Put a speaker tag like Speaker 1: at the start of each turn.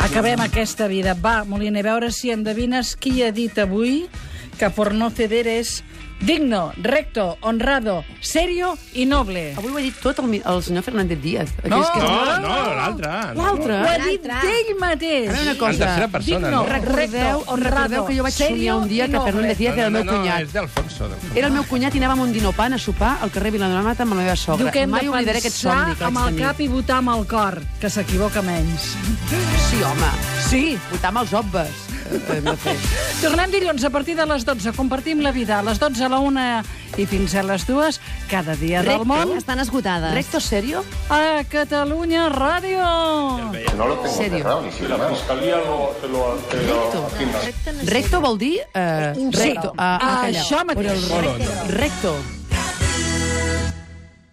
Speaker 1: Acabem aquesta vida. Va, Molina, a veure si endevines qui ha dit avui que por no ceder és digno, recto, honrado, serio i noble.
Speaker 2: Avui ho ha dit tot el, mi- el senyor Fernández Díaz.
Speaker 1: No,
Speaker 2: Aquells
Speaker 3: No,
Speaker 2: que...
Speaker 3: no, l'altre. no.
Speaker 2: L'altre.
Speaker 1: Ho ha dit
Speaker 4: L'altre.
Speaker 1: d'ell mateix.
Speaker 2: Ara una
Speaker 3: En tercera
Speaker 2: cosa.
Speaker 3: persona,
Speaker 1: Digno,
Speaker 3: no?
Speaker 1: recte,
Speaker 2: Recordeu, recordeu que jo vaig
Speaker 1: Serio
Speaker 2: somiar un dia
Speaker 1: i
Speaker 2: que
Speaker 1: noble.
Speaker 2: Fernández Díaz era el meu
Speaker 3: no, no,
Speaker 2: cunyat.
Speaker 3: és d'Alfonso. d'Alfonso.
Speaker 2: Era el meu cunyat i anàvem a un dinopant a sopar al carrer Viladomat amb la meva
Speaker 1: Diu
Speaker 2: sogra.
Speaker 1: que hem
Speaker 2: Mai
Speaker 1: de
Speaker 2: oblidaré aquest
Speaker 1: pensar
Speaker 2: somni que
Speaker 1: amb el
Speaker 2: vaig
Speaker 1: cap i votar amb el cor, que s'equivoca menys.
Speaker 2: tenir. Sí, home.
Speaker 1: Sí.
Speaker 2: Votar amb els obbes. Eh, hem de fer.
Speaker 1: Tornem dilluns a partir de les 12. Compartim la vida a les 12, a la 1 i fins a les 2, cada dia del món,
Speaker 4: Estan esgotades.
Speaker 2: Recto serio?
Speaker 1: a Catalunya Ràdio.
Speaker 5: No lo tengo
Speaker 2: Serio.
Speaker 5: cerrado, ni siquiera.
Speaker 2: Recto. Recto vol dir... Eh, recto. Ah, ah, calleu.
Speaker 1: Això mateix.
Speaker 2: Recto.